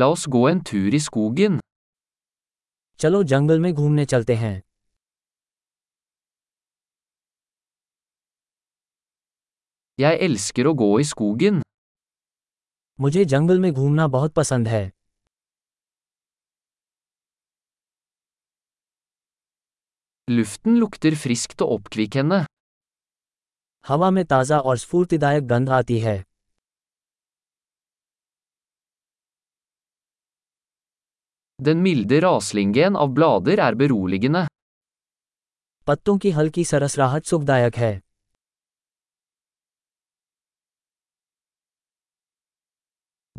La oss gå en tur i skogen. चलो जंगल में घूमने चलते हैं Jeg elsker å gå i skogen. मुझे जंगल में घूमना बहुत पसंद है Luften lukter friskt og oppkvikkende. हवा में ताज़ा और स्फूर्तिदायक गंध आती है Den milde raslingen av blader er beroligende. पत्तों की हल्की सरसराहट सुखदायक है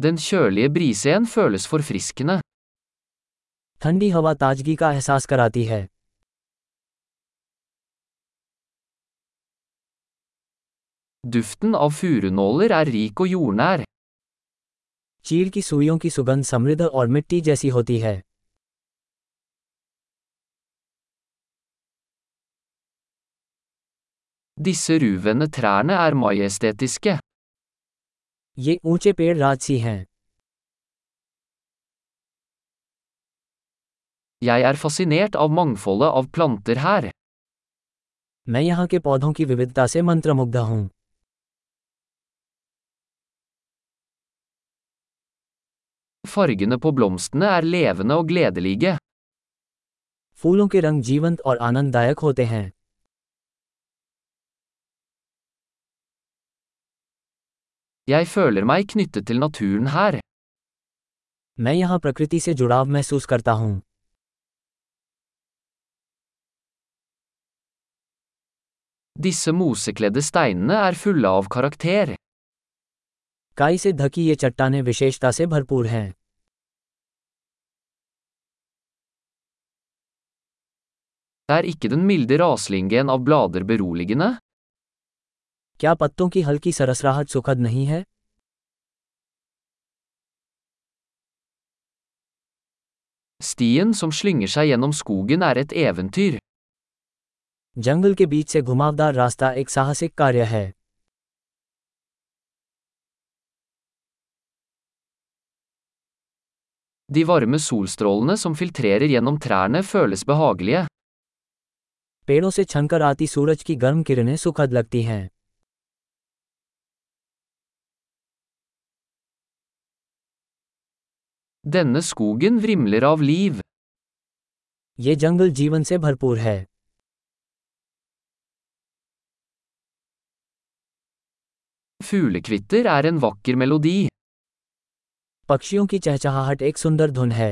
Den kjølige brisen føles forfriskende. ठंडी हवा ताजगी का एहसास कराती है Duften av furunåler er rik og jordnær. चीड़ की सुइयों की सुगंध समृद्ध और मिट्टी जैसी होती है Disse ruvende trærne er majestetiske. ये ऊंचे पेड़ राजसी हैं Jeg er fascinert av mangfoldet av planter her. मैं यहाँ के पौधों की विविधता से मंत्रमुग्ध हूँ Fargene på blomstene er levende og gledelige. फूलों के रंग जीवंत और आनंददायक होते हैं Jeg føler meg knyttet til naturen her. मैं यहाँ प्रकृति से जुड़ाव महसूस करता हूँ Disse mosekledde steinene er fulle av karakter. काई से ढकी ये चट्टाने विशेषता से भरपूर हैं Er ikke den milde raslingen av blader beroligende? क्या पत्तों की हल्की सरसराहट सुखद नहीं है Stien som slynger seg gjennom skogen er et eventyr. जंगल के बीच से घुमावदार रास्ता एक साहसिक कार्य है De varme solstrålene som filtrerer gjennom trærne føles behagelige. पेड़ों से छनकर आती सूरज की गर्म किरणें सुखद लगती हैं Denne skogen vrimler av liv. ये जंगल जीवन से भरपूर है Fuglekvitter er en vakker melodi. पक्षियों की चहचहाहट एक सुंदर धुन है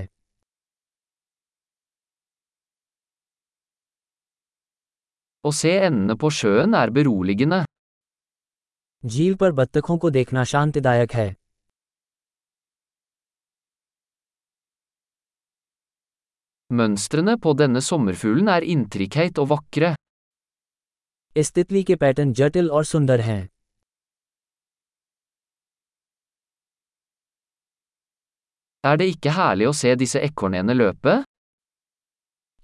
Å se endene på sjøen er beroligende. झील पर बत्तखों को देखना शांतिदायक है Mønstrene på denne sommerfuglen er intrikate og vakre. इस तितली के पैटर्न जटिल और सुंदर हैं Er det ikke herlig å se disse ekornene løpe?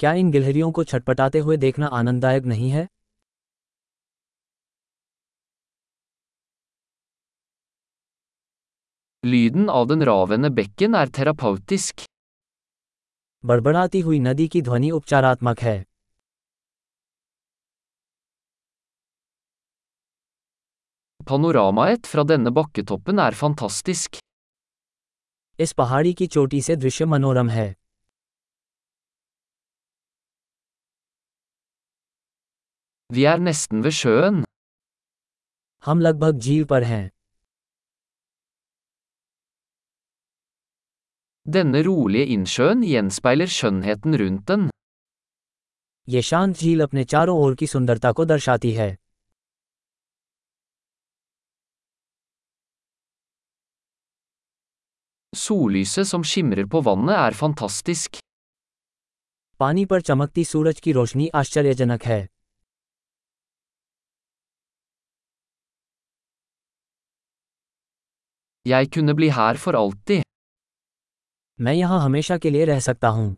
क्या इन गिलहरियों को छटपटाते हुए देखना आनंददायक नहीं है Lyden av den ravende bekken er terapeutisk. बड़बड़ाती हुई नदी की ध्वनि उपचारात्मक है Panoramaet fra denne bakketoppen er fantastisk. इस पहाड़ी की चोटी से दृश्य मनोरम है Vi er nesten ved sjøen. हम लगभग झील पर हैं Denne rolige innsjøen gjenspeiler skjønnheten rundt den. ये शांत झील अपने चारों ओर की सुंदरता को दर्शाती है Sollyset som skimrer på vannet er fantastisk. पानी पर चमकती सूरज की रोशनी आश्चर्यजनक है Jeg kunne bli her for alltid. मैं यहाँ हमेशा के लिए रह सकता हूँ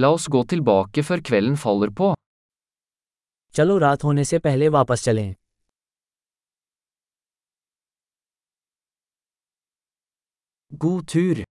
La oss gå tilbake før kvelden faller på. चलो रात होने से पहले वापस चलें God tur!